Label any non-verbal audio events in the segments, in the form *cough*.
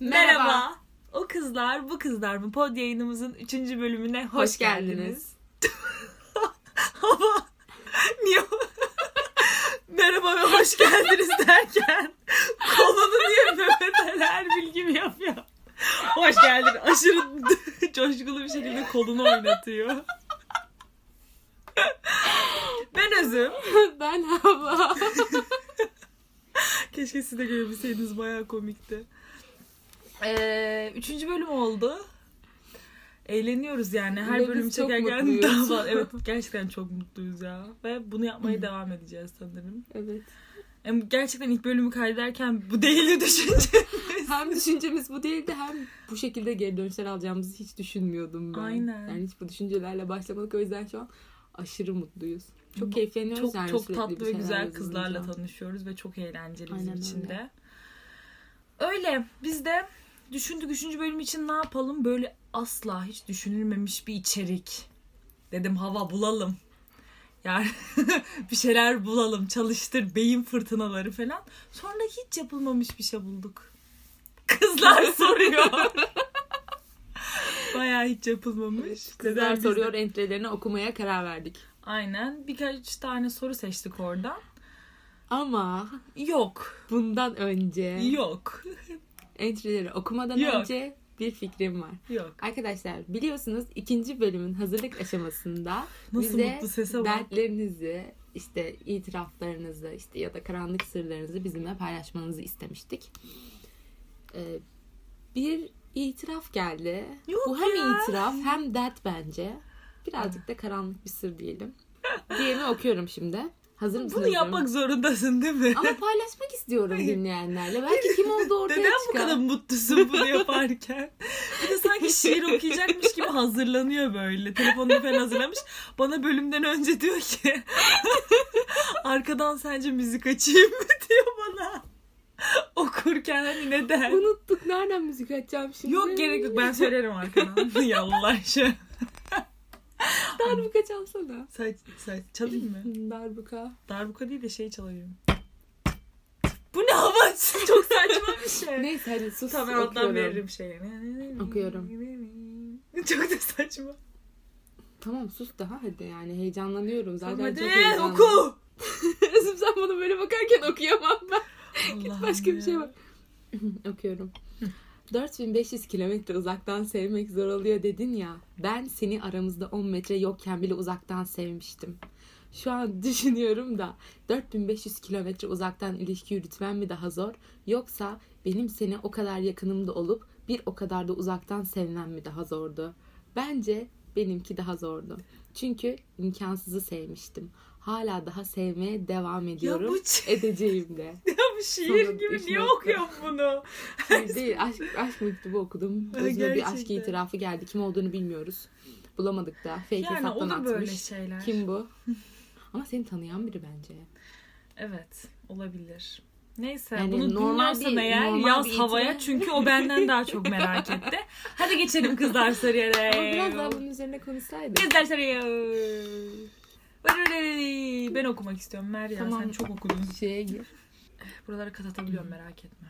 Merhaba. Merhaba. O kızlar bu kızlar mı? Pod yayınımızın 3. bölümüne hoş, Hoş geldiniz. *laughs* geldiniz. Ama niye *laughs* merhaba ve hoş geldiniz derken kolunu niye Mehmet her bilgim yapıyor? Hoş geldin. Aşırı *laughs* coşkulu bir şekilde kolunu oynatıyor. Ben Özüm. *laughs* ben Hava. Keşke siz de görebilseydiniz bayağı komikti. Ee, üçüncü bölüm oldu. Eğleniyoruz yani. Her Ve biz bölüm çok çekerken mutluyuz. *laughs* daha fazla. Evet gerçekten çok mutluyuz ya. Ve bunu yapmaya devam edeceğiz sanırım. evet. Yani gerçekten ilk bölümü kaydederken bu değil düşünce. Hem düşüncemiz bu değildi hem bu şekilde geri dönüşler alacağımızı hiç düşünmüyordum ben. Aynen. Yani hiç bu düşüncelerle başlamadık o yüzden şu an aşırı mutluyuz. Bu- Çok keyifleniyoruz çok yani çok sürekli bir tatlı ve şeyler güzel yazılınca. kızlarla tanışıyoruz ve çok eğlenceli bizim Aynen için öyle. de. Öyle. Biz de düşündük üçüncü bölüm için ne yapalım? Böyle asla hiç düşünülmemiş bir içerik. Dedim hava bulalım. Yani *laughs* bir şeyler bulalım, çalıştır, beyin fırtınaları falan. Sonra hiç yapılmamış bir şey bulduk. *laughs* Kızlar soruyor. Bayağı hiç yapılmamış. Kızlar Neden biz de- soruyor entrelerini okumaya karar verdik. Aynen. Birkaç tane soru seçtik oradan. Ama Yok. bundan önce Yok. *laughs* entreleri okumadan Yok. önce bir fikrim var. Yok. Arkadaşlar biliyorsunuz ikinci bölümün hazırlık aşamasında Nasıl bize mutlu sese bak. dertlerinizi, işte itiraflarınızı, işte ya da karanlık sırlarınızı bizimle paylaşmanızı istemiştik. Ee, bir itiraf geldi. Yok Bu hem ya. itiraf hem dert bence. Birazcık da karanlık bir sır diyelim. Diğerini okuyorum şimdi. Hazır mısınız? Bunu bilmiyorum. yapmak zorundasın değil mi? *laughs* ama paylaşmak istiyorum Hayır. dinleyenlerle. Belki kim olduğu *laughs* ortaya Neden bu çıkar. kadar mutlusun *laughs* bunu yaparken? Bir de sanki şiir okuyacakmış gibi hazırlanıyor böyle. Telefonunu falan hazırlamış. Bana bölümden önce diyor ki *laughs* arkadan sence müzik açayım mı *laughs* diyor bana. Okurken hani neden? Unuttuk. Nereden müzik açacağım şimdi? Yok gerek yok ben söylerim arkadan. *laughs* Yallah şu. Darbuka çalsana. Saç, saç, çalayım mı? Darbuka. Darbuka değil de şey çalıyorum. Bu ne hava? *laughs* Çok saçma bir şey. Neyse hadi sus. Tamam ben alttan okuyorum. veririm şeyi. Okuyorum. *laughs* Çok da saçma. Tamam sus daha hadi yani heyecanlanıyorum zaten Hadi çok heyecanlı. oku. Özüm *laughs* sen bana böyle bakarken okuyamam ben. *laughs* Allah'ım Başka bir şey ya. var. Okuyorum. 4500 kilometre uzaktan sevmek zor oluyor dedin ya. Ben seni aramızda 10 metre yokken bile uzaktan sevmiştim. Şu an *laughs* düşünüyorum da 4500 kilometre uzaktan ilişki yürütmem mi daha zor yoksa benim seni o kadar yakınımda olup bir o kadar da uzaktan sevmem mi daha zordu? Bence benimki daha zordu. Çünkü imkansızı sevmiştim. Hala daha sevmeye devam Ya ediyorum. bu, ç- *laughs* Edeceğim de. ya bu şiir Sonra gibi üç niye nokta. okuyorsun *laughs* bunu? Hayır değil aşk, aşk mektubu okudum. Ha, Özüme bir aşk gerçekten. itirafı geldi. Kim olduğunu bilmiyoruz. Bulamadık da. Fake Yani hesaptan olur atmış. böyle şeyler. Kim bu? Ama seni tanıyan biri bence. Evet olabilir. Neyse Yani bunu normal dinlersen bir- eğer normal yaz bir havaya itibariyle- çünkü o benden daha çok merak etti. Hadi geçelim kızlar Sarıyer'e. Ama biraz daha bunun üzerine konuşsaydık. Kızlar Sarıyer. Ben okumak istiyorum Meryem Tamam. sen çok okudun. Şeye gir. Buralara kat atabiliyorum merak etme.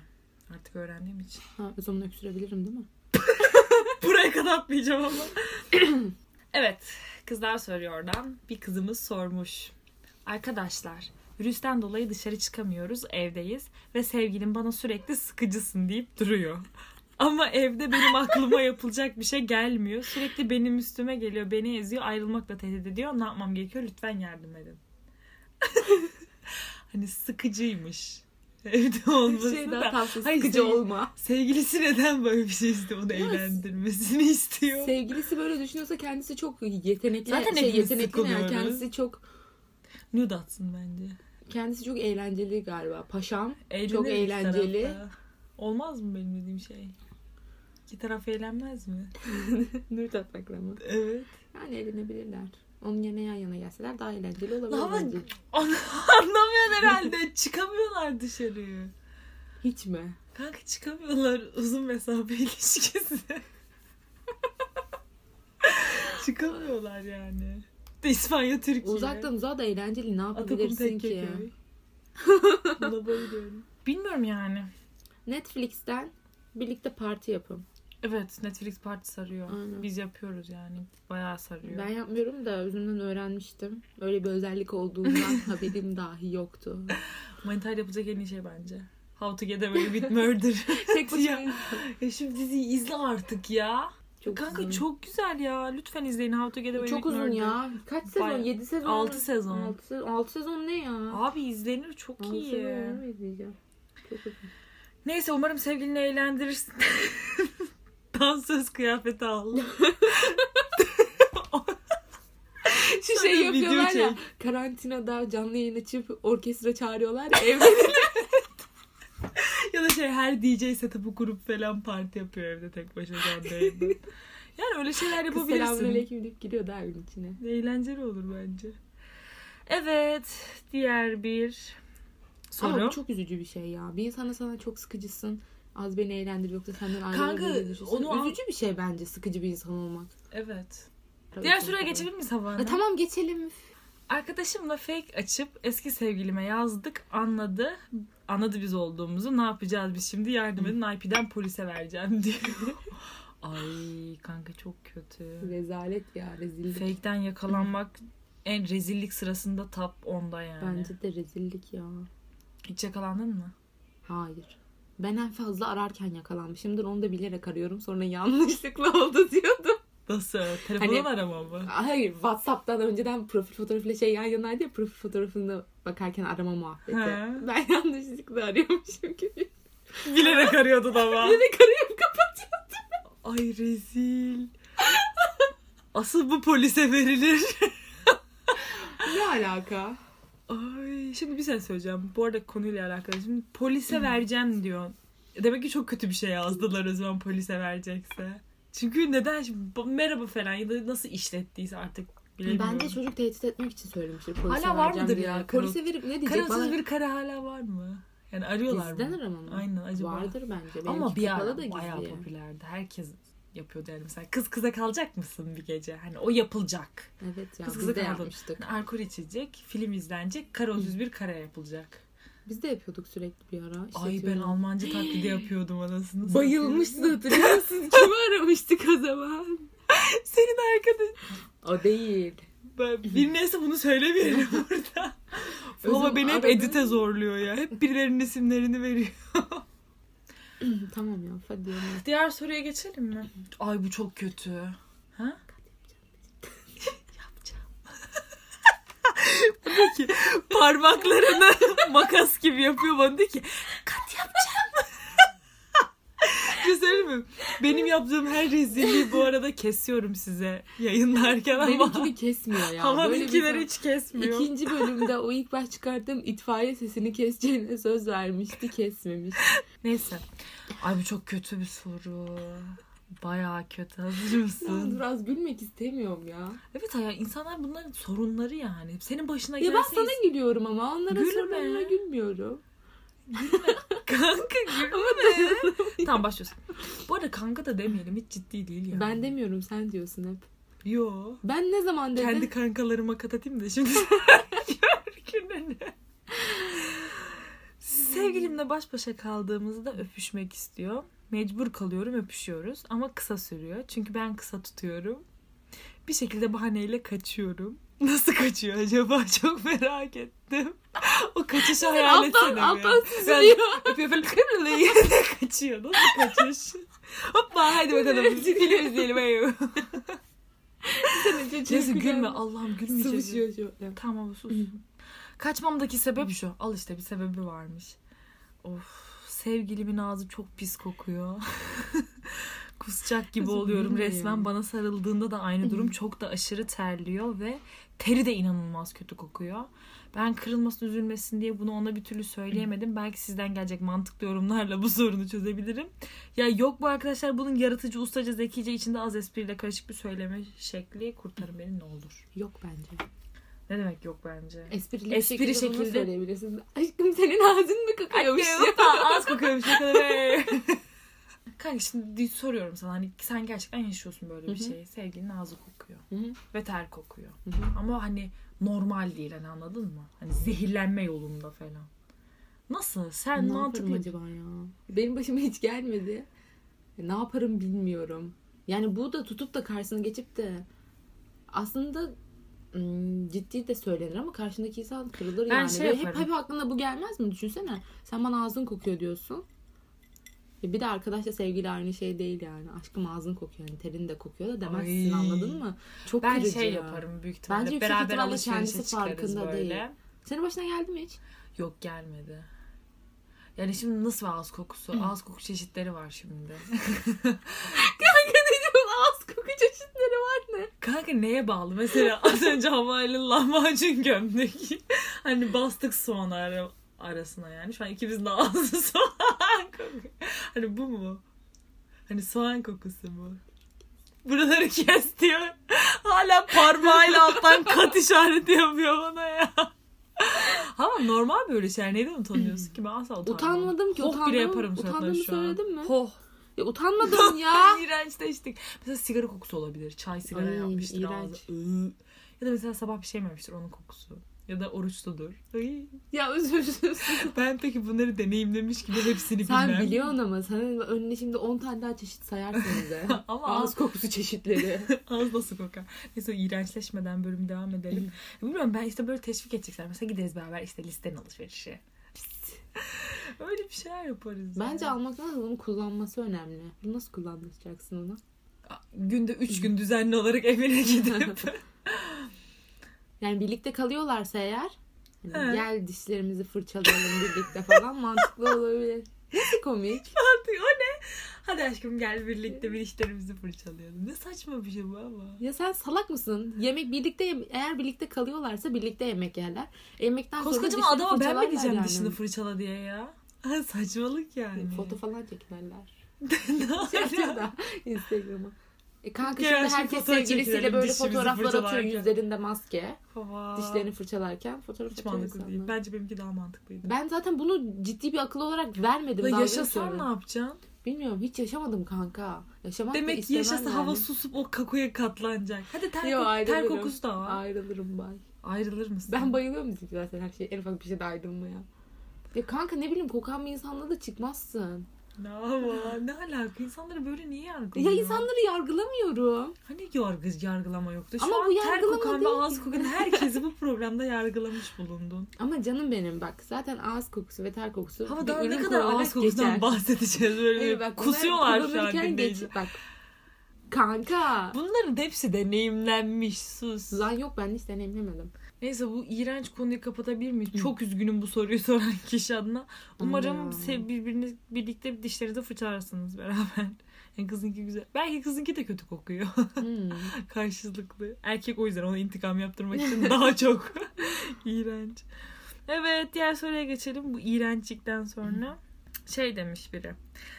Artık öğrendiğim için. Ha, o zaman öksürebilirim değil mi? Buraya kat atmayacağım ama. *clears throat* evet. Kızlar soruyor oradan. Bir kızımız sormuş. Arkadaşlar virüsten dolayı dışarı çıkamıyoruz evdeyiz ve sevgilim bana sürekli sıkıcısın deyip duruyor. Ama evde benim aklıma yapılacak bir şey gelmiyor. Sürekli benim üstüme geliyor, beni eziyor, ayrılmakla tehdit ediyor. Ne yapmam gerekiyor? Lütfen yardım edin. *laughs* hani sıkıcıymış. Evde olması Şey da. daha tatlı. Hayır, Sıkıcı sev- olma. Sevgilisi neden böyle bir şey istiyor? Onu Ya, eğlendirmesini istiyor. Sevgilisi böyle düşünüyorsa kendisi çok yetenekli. Zaten şey, hepimiz yetenekli ne ya? sıkılıyoruz. Kendisi çok Nude atsın bence. kendisi çok eğlenceli galiba. *laughs* Paşam. Eğlenir Çok iki eğlenceli. tarafta. Olmaz mı benim dediğim şey? İki taraf eğlenmez mi? Nur tatmakla mı? Evet. Yani eğlenebilirler. Onun yerine yan yana gelseler daha eğlenceli olabilir Ama- bence. *laughs* Anlamıyorsun herhalde. Çıkamıyorlar dışarı. Hiç mi? Kanka çıkamıyorlar uzun mesafe ilişkisi. *laughs* çıkamıyorlar yani. İspanya, Türkiye. Uzaktan uzağa da eğlenceli ne Atakum yapabilirsin ki? *laughs* Tekkeköy. Buna bayılıyorum. Bilmiyorum yani. Netflix'ten birlikte parti yapın. Evet Netflix parti sarıyor. Aynen. Biz yapıyoruz yani. Bayağı sarıyor. Ben yapmıyorum da özümden öğrenmiştim. Öyle bir özellik olduğundan *laughs* haberim dahi yoktu. Manitar yapacak en iyi şey bence. How to get away *laughs* with murder. Tek başıma. ya şu diziyi izle artık ya. Kanka uzun. çok güzel ya. Lütfen izleyin How to Get Away Çok with uzun Murder. ya. Kaç sezon? Bayağı. 7 sezon. 6 sezon. 6 sezon. 6 sezon ne ya? Abi izlenir çok 6 iyi. sezon onu mu izleyeceğim? Çok uzun. *laughs* Neyse umarım sevgilini eğlendirirsin. *laughs* Dansöz *laughs* kıyafeti al. Şu Sonra şey video yapıyorlar ya. çek. Karantinada canlı yayın açıp orkestra çağırıyorlar ya. Evde ya da şey her DJ setup'ı kurup falan parti yapıyor evde tek başına *laughs* canlı yayında. Yani öyle şeyler yapabilirsin. selamünaleyküm deyip giriyor da evin içine. Eğlenceli olur bence. Evet. Diğer bir soru. Ama bu çok üzücü bir şey ya. Bir insana sana çok sıkıcısın. Az beni eğlendir yoksa senden ayrılır Kanka, diye düşünsün. onu an- Üzücü bir şey bence sıkıcı bir insan olmak. Evet. Diğer soruya geçebilir miyiz Havana? Ha, E, tamam geçelim. Arkadaşımla fake açıp eski sevgilime yazdık. Anladı. Anladı biz olduğumuzu. Ne yapacağız biz şimdi? Yardım edin. IP'den polise vereceğim *laughs* diyor. Ay kanka çok kötü. Rezalet ya rezillik. Fake'den yakalanmak en rezillik sırasında top 10'da yani. Bence de rezillik ya. Hiç yakalandın mı? Hayır. Ben en fazla ararken yakalanmışımdır. Onu da bilerek arıyorum. Sonra yanlışlıkla *laughs* oldu diyordum. Nasıl? Telefonla Hani- arama mı? Hayır. Whatsapp'tan önceden profil fotoğrafıyla şey yan yanaydı ya. Profil fotoğrafında bakarken arama muhabbeti. He. Ben *laughs* yanlışlıkla arıyormuşum gibi. Bilerek *laughs* arıyordun ama. Bilerek arıyorum kapatıyor. Ay rezil. Asıl bu polise verilir. Ne alaka? Ay, şimdi bir şey söyleyeceğim. Bu arada konuyla alakalı. Şimdi polise vereceğim diyor. Demek ki çok kötü bir şey yazdılar o zaman polise verecekse. Çünkü neden şimdi merhaba falan ya da nasıl işlettiyse artık bilemiyorum. Bence çocuk tehdit etmek için söylemiştir. Polise Hala var vereceğim mıdır diye. ya? Polise verip ne diyecek? Kararsız Bana... bir kara hala var mı? Yani arıyorlar Gizliden mı? arama mı? Aynen acaba. Vardır bence. Benimki Ama bir kapalı ara da bayağı gizli. popülerdi. Herkes yapıyordu yani mesela kız kıza kalacak mısın bir gece? Hani o yapılacak. Evet ya Kız biz kıza de kaldı. yapmıştık. Alkol içilecek, film izlenecek, kara 101 kara yapılacak. Biz de yapıyorduk sürekli bir ara. Ay ben İşletiyorum. Almanca taklidi yapıyordum anasını. satayım. Bayılmıştı hatırlıyor *laughs* musun? Kimi aramıştık o zaman? Senin arkadaşın. O değil. Ben- Bir neyse bunu söylemeyelim burada. O Baba zaman beni hep arada- edite zorluyor ya. Hep birilerinin isimlerini veriyor. *clears throat* tamam ya hadi ya. Diğer soruya geçelim mi? *laughs* Ay bu çok kötü. Ha? Yapacağım. Peki parmaklarını *laughs* makas gibi yapıyor bana diyor ki kat yapacağım. *laughs* Bir şey söyleyeyim mi? Benim yaptığım her rezilliği bu arada kesiyorum size yayınlarken *laughs* ama Benimkini kesmiyor *laughs* ya. ama Böyle bir benimkileri zaman- hiç kesmiyor. İkinci bölümde o ilk baş çıkarttığım itfaiye sesini keseceğine söz vermişti kesmemiş. Neyse. Ay bu çok kötü bir soru. Bayağı kötü. Hazır Ben mısın? biraz gülmek istemiyorum ya. evet ya insanlar bunların sorunları yani. Senin başına Ya ben gelse sana gülüyorum ama onlara Gülme. sorularına gülmüyorum. kanka gülme. tamam başlıyorsun. Bu arada kanka da demeyelim hiç ciddi değil yani. Ben demiyorum sen diyorsun hep. Yo. Ben ne zaman dedim? *laughs* Kendi kankalarıma kat atayım da şimdi. Gününü. *laughs* Sevgilimle baş başa kaldığımızda öpüşmek istiyor. Mecbur kalıyorum öpüşüyoruz ama kısa sürüyor. Çünkü ben kısa tutuyorum. Bir şekilde bahaneyle kaçıyorum. Nasıl kaçıyor acaba? *laughs* Çok merak ettim. O kaçışı hayal alttan- etsene. bir. alttan Ben *laughs* Öpüyor falan. kaçıyor. Nasıl kaçış? Hoppa hadi *laughs* bakalım. Film izleyelim. *laughs* Neyse gülme. Allah'ım gülmeyeceğim. Sıvışıyor şöyle. Tamam sus. Kaçmamdaki sebep şu. Al işte bir sebebi varmış. Of sevgilimin ağzı çok pis kokuyor. *laughs* Kusacak gibi Kızım, oluyorum gülme resmen. ya. Bana sarıldığında da aynı durum. Çok da aşırı terliyor ve teri de inanılmaz kötü kokuyor. Ben kırılmasın üzülmesin diye bunu ona bir türlü söyleyemedim. Belki sizden gelecek mantıklı yorumlarla bu sorunu çözebilirim. Ya yok bu arkadaşlar bunun yaratıcı, ustaca, zekice içinde az espriyle karışık bir söyleme şekli kurtarın beni ne olur. Yok bence. Ne demek yok bence. Esprili, Espri bir şekilde, bunu şekilde. söyleyebilirsin. Aşkım senin ağzın mı Ay, kakıyormuş ya? yapa, az kokuyormuş ne *laughs* kadar. ey. Kanka şimdi soruyorum sana hani sen gerçekten yaşıyorsun böyle bir Hı hı. şeyi. Sevgilinin ağzı kokuyor Hı hı. ve ter kokuyor. Hı *laughs* hı. Ama hani normal değil hani anladın mı? Hani zehirlenme yolunda falan. Nasıl? Sen ne yaparım mantıklı. acaba ya? Benim başıma hiç gelmedi. E, Ne yaparım bilmiyorum. Yani bu da tutup da karşısına geçip de aslında ım, ciddi de söylenir ama karşındaki insan kırılır Ben yani. şey Ve hep yaparım. hep aklına bu gelmez mi? Düşünsene. Sen bana ağzın kokuyor diyorsun. E Bir de arkadaşla sevgili aynı şey değil yani. Aşkım ağzın kokuyor. Yani terin de kokuyor da demezsin Ay. anladın mı? Çok Ben kırıcı. şey yaparım büyük ihtimalle. Bence yüksek Beraber ihtimalle alışverişe kendisi çıkarız farkında böyle. değil. Senin başına geldi mi hiç? Yok gelmedi. Yani şimdi nasıl ağız kokusu? Ağız koku çeşitleri var şimdi. Ağız koku çeşitleri var ne? Kanka neye bağlı? Mesela *laughs* az önce havayla lahmacun gömdük. *laughs* hani bastık soğan ara- arasına yani. Şu an ikimizin de ağzı *laughs* soğan kokuyor. Hani bu mu? Hani soğan kokusu bu. Buraları kes diyor. Hala parmağıyla alttan kat işareti yapıyor bana ya. Ama normal böyle şey. Neyden utanıyorsun ki? Ben asla utanmam. Utanmadım ki. Hoh utandım, bile yaparım suratına Utandığımı şu an. söyledim mi? Hoh. Ya utanmadım *laughs* ya. İğrençleştik. Mesela sigara kokusu olabilir. Çay sigara Ay, yapmıştır iğrenç. ağzı. Iı. Ya da mesela sabah bir şey yememiştir onun kokusu. Ya da oruçludur. Ay. ya üzülürsün. Ben peki bunları deneyimlemiş gibi hepsini Sen bilmem. biliyorsun ama sen önüne şimdi 10 tane daha çeşit sayarsın *laughs* bize. *laughs* Ama Ağız kokusu çeşitleri. Ağız nasıl kokar? Neyse iğrençleşmeden bölüm devam edelim. Bilmiyorum ben işte böyle teşvik edecekler. Mesela gideriz beraber işte listenin alışverişi. *laughs* Öyle bir şeyler yaparız. Bence yani. almaktan da bunu kullanması önemli. Bunu nasıl kullanacaksın onu? günde üç gün düzenli olarak *laughs* *laughs* evine gidip Yani birlikte kalıyorlarsa eğer hani Evet. gel dişlerimizi fırçalayalım birlikte falan *laughs* mantıklı olabilir. Nasıl komik? Artık o ne? Hadi aşkım gel birlikte bir işlerimizi fırçalayalım. Ne saçma bir şey bu ama. Ya sen salak mısın? Yemek birlikte yem- eğer birlikte kalıyorlarsa birlikte yemek yerler. E, Yemekten sonra Koskocaman dişini adama ben mi fırçalarlar diyeceğim yani. dişini fırçala diye ya? Saçmalık yani. Foto falan çekinerler. *laughs* ne Şey atıyor alaka? da Instagram'a. E kanka Gel şimdi şimdi herkes fotoğraf sevgilisiyle çekinelim, böyle dişimizi fotoğraflar atıyor fırçalarken. yüzlerinde maske. Baba. Dişlerini fırçalarken fotoğraf Hiç atıyor mantıklı değil. insanlar. Bence benimki daha mantıklıydı. Ben zaten bunu ciddi bir akıl olarak vermedim. La dalga yaşasan geçiyorum. ne yapacaksın? Bilmiyorum hiç yaşamadım kanka. Yaşamak da Demek ki istemem yaşasa yani. hava susup o kakuya katlanacak. Hadi ter, Yo, kok- ter ayrılırım. kokusu da var. Ayrılırım bay. Ayrılır mısın? Ben bayılıyorum bizim zaten her şey. En ufak bir şeyde ayrılmaya. Ya kanka ne bileyim kokan bir insanla da çıkmazsın. Ne ama ne alaka? İnsanları böyle niye Ya yargılıyor? insanları yargılamıyorum. Hani yargı, yargılama yoktu. Şu Ama an bu ter yargılama kokan ve değil ağız kokan herkesi bu programda yargılamış bulundun. Ama canım benim bak zaten ağız kokusu ve ter kokusu Ama bir daha ne ürün kadar kullanarak ağız kokusundan *laughs* geçer. bahsedeceğiz böyle. Hayır, bak, bunlar Kusuyorlar şu an kullanırken dinleyici. geç- Bak kanka. Bunların da hepsi deneyimlenmiş. Sus. Zan yok ben hiç deneyimlemedim. Neyse bu iğrenç konuyu kapatabilir miyiz? Çok üzgünüm bu soruyu *laughs* soran kişi adına. Umarım Aman. sev birbiriniz birlikte dişlerinizi fırçalarsınız beraber. *laughs* Yani kızınki güzel. Belki kızınki de kötü kokuyor. *laughs* Hmm. Karşılıklı. Erkek o yüzden ona intikam yaptırmak için *laughs* daha çok. iğrenç. Evet diğer soruya geçelim. Bu iğrençlikten sonra şey demiş biri.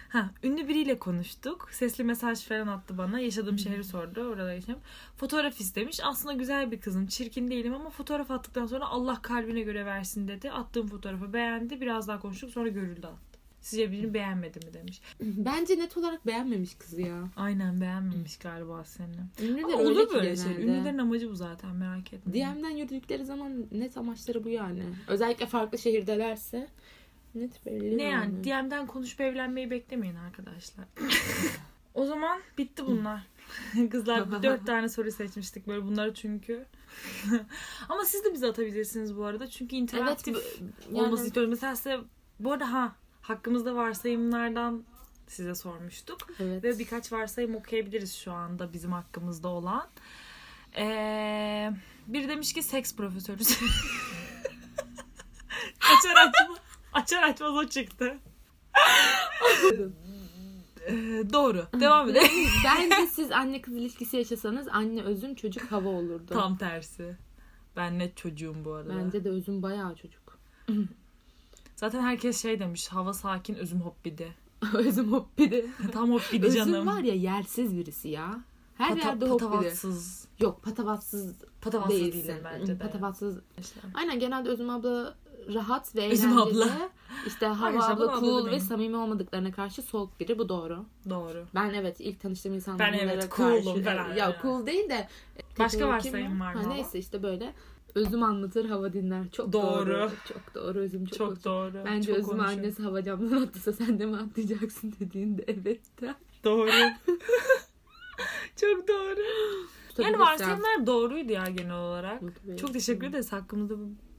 Ha, ünlü biriyle konuştuk. Sesli mesaj falan attı bana. Yaşadığım şehri sordu. Orada yaşıyorum. Fotoğraf istemiş. Aslında güzel bir kızım. Çirkin değilim ama fotoğraf attıktan sonra Allah kalbine göre versin dedi. Attığım fotoğrafı beğendi. Biraz daha konuştuk. Sonra görüldü attı. Sizce birini beğenmedi mi demiş. Bence net olarak beğenmemiş kızı ya. Aynen beğenmemiş galiba seni. Ünlüler Ama öyle olur ki böyle genelde. şey. Ünlülerin amacı bu zaten merak etme. DM'den yürüdükleri zaman net amaçları bu yani. Özellikle farklı şehirdelerse net belli. Ne yani? DM'den konuşup evlenmeyi beklemeyin arkadaşlar. *laughs* o zaman bitti *laughs* bunlar. Kızlar dört tane soru seçmiştik böyle bunları çünkü. *laughs* Ama siz de bize atabilirsiniz bu arada. Çünkü Evet, interaktif bu- yani- olması istiyorum. Mesela size bu arada ha hakkımızda varsayımlardan size sormuştuk. Evet. Ve birkaç varsayım okuyabiliriz şu anda bizim hakkımızda olan. Ee, biri demiş ki seks profesörü. *laughs* açar açma. Açar açmaz o çıktı. Ee, doğru. *laughs* Devam edelim. *laughs* Bence siz anne kız ilişkisi yaşasanız anne özüm çocuk hava olurdu. Tam tersi. Ben net çocuğum bu arada. Bence de özüm bayağı çocuk. Zaten herkes şey demiş. Hava sakin, *laughs* özüm hobbidi. özüm hoppidi. Tam hobbidi canım. özüm var ya yersiz birisi ya. Her Pata- yerde hoppidi. patavatsız. Yok patavatsız, Patavatsız değilsin. değilim bence de. Patavatsız. İşte. Aynen genelde özüm abla rahat ve eğlenceli. Özüm abla. İşte hava Ayşe, bunu abla cool anladım. ve samimi olmadıklarına karşı soğuk biri. Bu doğru. Doğru. Ben evet ilk tanıştığım insanlara Ben evet, karşı. cool'um falan Ya yani. cool değil de. Başka Kim varsayım var mı Ha, ama? neyse işte böyle. Özüm anlatır hava dinler. Çok doğru. Doğru. Çok doğru Özüm çok, Çok, çok doğru. Bence Çok Özüm konuşuyor. annesi hava camdan attıysa sen de mi atlayacaksın dediğinde evet de. Doğru. *laughs* Çok doğru. Yani Tutabilirsen- varsayımlar doğruydu ya genel olarak. Tutabilirsin. Çok teşekkür ederiz. Hakkımızda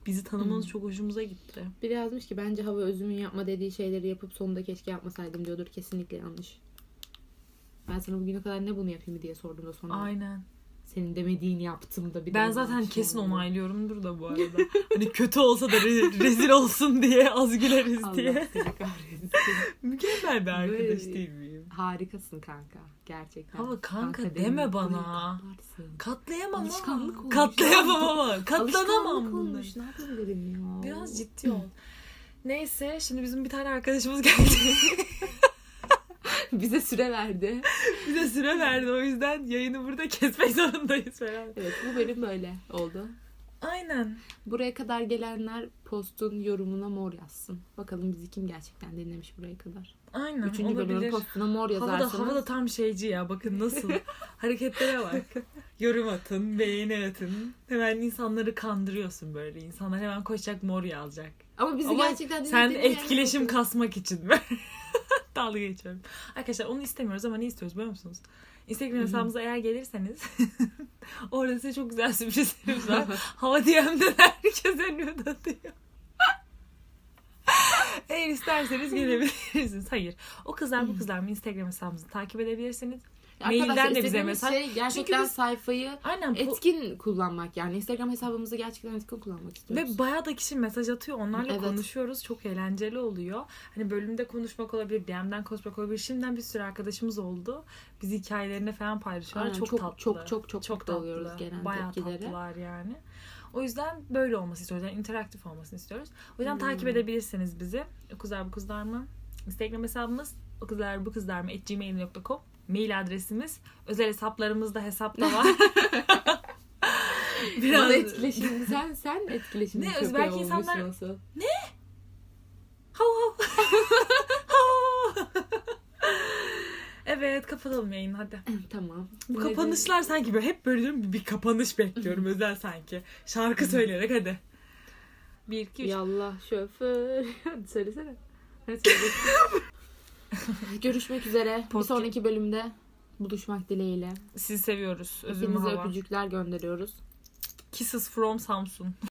bizi tanımanız çok hoşumuza gitti. Biri yazmış ki bence hava özümün yapma dediği şeyleri yapıp sonunda keşke yapmasaydım diyordur. Kesinlikle yanlış. Ben sana bugüne kadar ne bunu yapayım diye sordum da sonra. Aynen. Senin demediğin yaptım da bir de Ben yanlış zaten kesin oldu. onaylıyorumdur da *laughs* bu arada. hani kötü olsa da re- rezil olsun diye az güleriz Allah diye. *laughs* seni kahretsin. Mükemmel bir arkadaş Böyle- değil miyim? Harikasın kanka. Gerçekten. Ama kanka değil deme mi? bana. Burayı katlarsın. Katlayamam ama. Alışkanlık olmuş. Katlayamam ama. Katlanamam Alışkanlık bunları. olmuş. Ne yapabilirim ya? Biraz ciddi ol. Neyse şimdi bizim bir tane arkadaşımız geldi. *laughs* Bize süre verdi. Bize süre verdi o yüzden yayını burada kesmek zorundayız falan. Evet bu bölüm böyle oldu. Aynen. Buraya kadar gelenler postun yorumuna mor yazsın. Bakalım bizi kim gerçekten dinlemiş buraya kadar. Aynen Üçüncü bölümün olabilir. postuna mor yazarsanız. Havada, havada tam şeyci ya bakın *laughs* nasıl. Hareketlere bak. Yorum atın, beğeni atın. Hemen insanları kandırıyorsun böyle. İnsanlar hemen koşacak mor yazacak. Ama bizi Ama gerçekten Sen dinlediğini yani etkileşim bakalım. kasmak için mi? *laughs* Dalga geçiyorum. Arkadaşlar onu istemiyoruz ama ne istiyoruz biliyor musunuz? Instagram hesabımıza eğer gelirseniz *laughs* orada size çok güzel sürprizlerimiz var. Hava DM'den herkes elini atıyor. *laughs* eğer isterseniz gelebilirsiniz. Hayır. O kızlar bu kızlar mı Instagram hesabımızı takip edebilirsiniz. Arkadaşlar Mailden de bize istediğimiz mesaj. Şey, gerçekten biz- sayfayı Aynen. po- etkin kullanmak yani. Instagram hesabımızı gerçekten etkin kullanmak istiyoruz. Ve bayağı da kişi mesaj atıyor. Onlarla Evet. konuşuyoruz. Çok eğlenceli oluyor. Hani bölümde konuşmak olabilir, DM'den konuşmak olabilir. Şimdiden bir sürü arkadaşımız oldu. Biz hikayelerini falan paylaşıyorlar. Aynen, çok, çok- tatlı. çok- çok- çok mutlu oluyoruz tatlı. gelen Bayağı tepkilere. tatlılar yani. O yüzden böyle olması istiyoruz. Yani interaktif olmasını istiyoruz. O yüzden Hmm. takip edebilirsiniz bizi. O kızlar bu kızlar mı? Instagram hesabımız o kızlar bu kızlar mı? gmail.com Mail adresimiz. Özel hesaplarımızda hesapta *laughs* var. Biraz etkileşim *laughs* sen sen etkileşim Ne, köpeği öz- belki olmuşsun insanlar- nasıl? *clears throat* Hav hav. *laughs* Hav. evet kapatalım yayını hadi. Tamam. Bu Böyle- kapanışlar sanki böyle hep böyle diyorum bir kapanış bekliyorum özel sanki. Şarkı söyleyerek hadi. 1 2 3. Yallah şoför. *laughs* Hadi söylesene. Hadi söyle. Görüşmek üzere. Bir Podcast- sonraki bölümde buluşmak dileğiyle. Sizi seviyoruz. Özüm Hepinize hava. öpücükler gönderiyoruz. Kisses from Samsun.